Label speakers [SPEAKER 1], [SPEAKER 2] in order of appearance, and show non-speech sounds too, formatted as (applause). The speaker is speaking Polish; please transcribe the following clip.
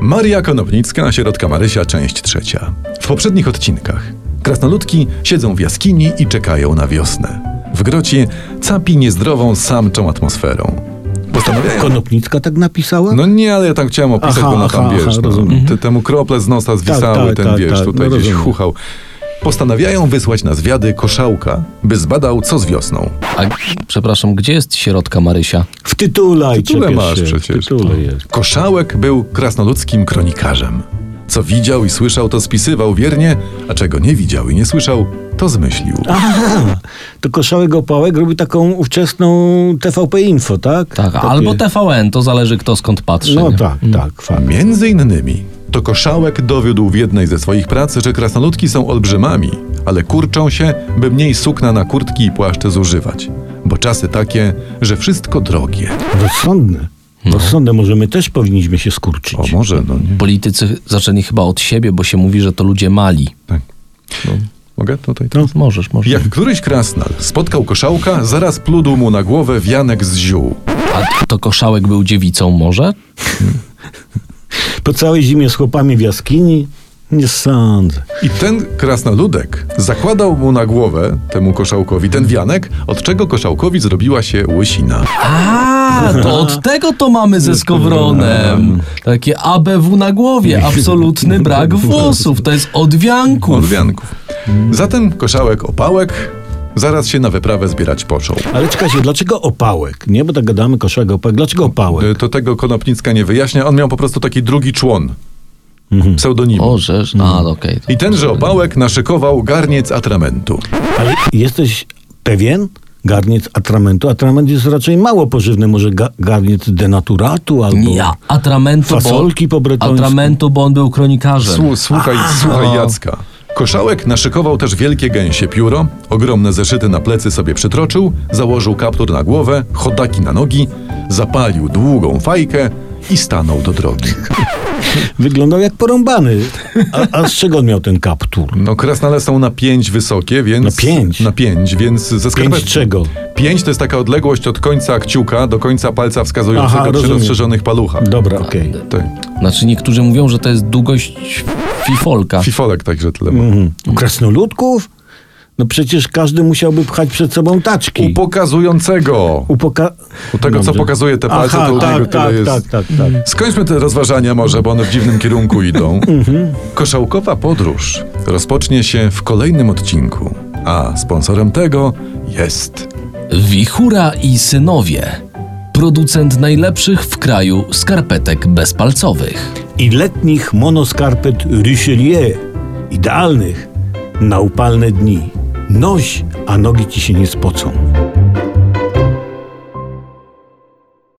[SPEAKER 1] Maria Konopnicka, Środka Marysia, część trzecia. W poprzednich odcinkach krasnoludki siedzą w jaskini i czekają na wiosnę. W grocie capi niezdrową samczą atmosferą. Postanawiają...
[SPEAKER 2] Konopnicka tak napisała?
[SPEAKER 1] No nie, ale ja tam chciałem opisać,
[SPEAKER 2] Aha,
[SPEAKER 1] bo no tam
[SPEAKER 2] aha,
[SPEAKER 1] wiesz,
[SPEAKER 2] aha,
[SPEAKER 1] no,
[SPEAKER 2] rozumiem. Mhm.
[SPEAKER 1] te, temu krople z nosa zwisały,
[SPEAKER 2] tak,
[SPEAKER 1] ten
[SPEAKER 2] tak,
[SPEAKER 1] wiesz,
[SPEAKER 2] tak,
[SPEAKER 1] tutaj
[SPEAKER 2] no
[SPEAKER 1] gdzieś
[SPEAKER 2] rozumiem.
[SPEAKER 1] chuchał. Postanawiają wysłać na zwiady koszałka, by zbadał, co z wiosną.
[SPEAKER 3] A g- przepraszam, gdzie jest środka Marysia?
[SPEAKER 2] W tytule tak. i
[SPEAKER 1] Tytule
[SPEAKER 2] czepiasz
[SPEAKER 1] masz
[SPEAKER 2] się,
[SPEAKER 1] przecież. tak.
[SPEAKER 2] W tytule jest.
[SPEAKER 1] Koszałek był krasnoludzkim kronikarzem. Co widział i słyszał, to spisywał wiernie, a czego nie widział i nie słyszał, to zmyślił.
[SPEAKER 2] Aha, to Koszałek Opałek robi taką ówczesną TVP Info, tak?
[SPEAKER 3] Tak,
[SPEAKER 2] Takie-
[SPEAKER 3] albo TVN, to zależy kto skąd patrzy.
[SPEAKER 2] No
[SPEAKER 3] nie?
[SPEAKER 2] tak, tak, fakt.
[SPEAKER 1] Między innymi to Koszałek dowiódł w jednej ze swoich prac, że krasnoludki są olbrzymami, ale kurczą się, by mniej sukna na kurtki i płaszcze zużywać. Bo czasy takie, że wszystko drogie.
[SPEAKER 2] Rozsądne. Rozsądne, może my też powinniśmy się skurczyć.
[SPEAKER 1] O może, no nie.
[SPEAKER 3] Politycy zaczęli chyba od siebie, bo się mówi, że to ludzie mali. No,
[SPEAKER 1] Tak. Mogę tutaj?
[SPEAKER 2] No.
[SPEAKER 3] Możesz, możesz.
[SPEAKER 1] Jak któryś krasnal spotkał koszałka, zaraz pludł mu na głowę wianek z ziół.
[SPEAKER 3] A to koszałek był dziewicą może?
[SPEAKER 2] Po całej zimie z chłopami w jaskini? Nie sądzę.
[SPEAKER 1] I ten krasnoludek zakładał mu na głowę, temu koszałkowi, ten wianek, od czego koszałkowi zrobiła się łysina.
[SPEAKER 3] A, to od tego to mamy ze skowronem. Takie ABW na głowie, (laughs) absolutny brak włosów. To jest od
[SPEAKER 1] Od
[SPEAKER 3] wianków.
[SPEAKER 1] wianków. Zatem koszałek opałek zaraz się na wyprawę zbierać począł.
[SPEAKER 2] Ale czekajcie, dlaczego opałek? Nie, bo tak gadamy koszałek opałek. Dlaczego opałek?
[SPEAKER 1] Y, To tego Konopnicka nie wyjaśnia, on miał po prostu taki drugi człon, pseudonim.
[SPEAKER 3] O, rzecz. A, okej.
[SPEAKER 1] I tenże opałek naszykował garniec atramentu.
[SPEAKER 2] Ale jesteś pewien? Garniec atramentu. Atrament jest raczej mało pożywny. Może ga- garniec denaturatu albo...
[SPEAKER 3] Nie, a- atramentu, bo,
[SPEAKER 2] Fasolki po bretońsku.
[SPEAKER 3] atramentu, bo on był kronikarzem.
[SPEAKER 1] Słu- Słuchaj, słuchaj Jacka. Koszałek naszykował też wielkie gęsie pióro, ogromne zeszyty na plecy sobie przytroczył, założył kaptur na głowę, chodaki na nogi, zapalił długą fajkę i stanął do drogi.
[SPEAKER 2] Wyglądał jak porąbany. A, a z czego on miał ten kaptur?
[SPEAKER 1] No krasnale są na pięć wysokie, więc...
[SPEAKER 2] Na pięć?
[SPEAKER 1] Na pięć, więc ze
[SPEAKER 2] Pięć
[SPEAKER 1] skarpetki.
[SPEAKER 2] czego?
[SPEAKER 1] Pięć to jest taka odległość od końca kciuka do końca palca wskazującego
[SPEAKER 2] Aha,
[SPEAKER 1] przy
[SPEAKER 2] rozumiem.
[SPEAKER 1] rozszerzonych paluchach.
[SPEAKER 2] Dobra, okej.
[SPEAKER 1] Tak.
[SPEAKER 3] Znaczy niektórzy mówią, że to jest długość fifolka.
[SPEAKER 1] Fifolek także tyle. ma.
[SPEAKER 2] Mhm. U krasnoludków? No przecież każdy musiałby pchać przed sobą taczki.
[SPEAKER 1] U pokazującego!
[SPEAKER 2] U poka-
[SPEAKER 1] U tego, co
[SPEAKER 2] Dobrze.
[SPEAKER 1] pokazuje te palce,
[SPEAKER 2] Aha,
[SPEAKER 1] to u
[SPEAKER 2] tak,
[SPEAKER 1] niego
[SPEAKER 2] tak,
[SPEAKER 1] tyle jest...
[SPEAKER 2] tak, tak, tak.
[SPEAKER 1] Skończmy te rozważania może, bo one w dziwnym kierunku idą. Koszałkowa podróż rozpocznie się w kolejnym odcinku, a sponsorem tego jest
[SPEAKER 3] Wichura i synowie. Producent najlepszych w kraju skarpetek bezpalcowych.
[SPEAKER 2] I letnich monoskarpet Richelieu. Idealnych na upalne dni. Noś, a nogi ci się nie spocą.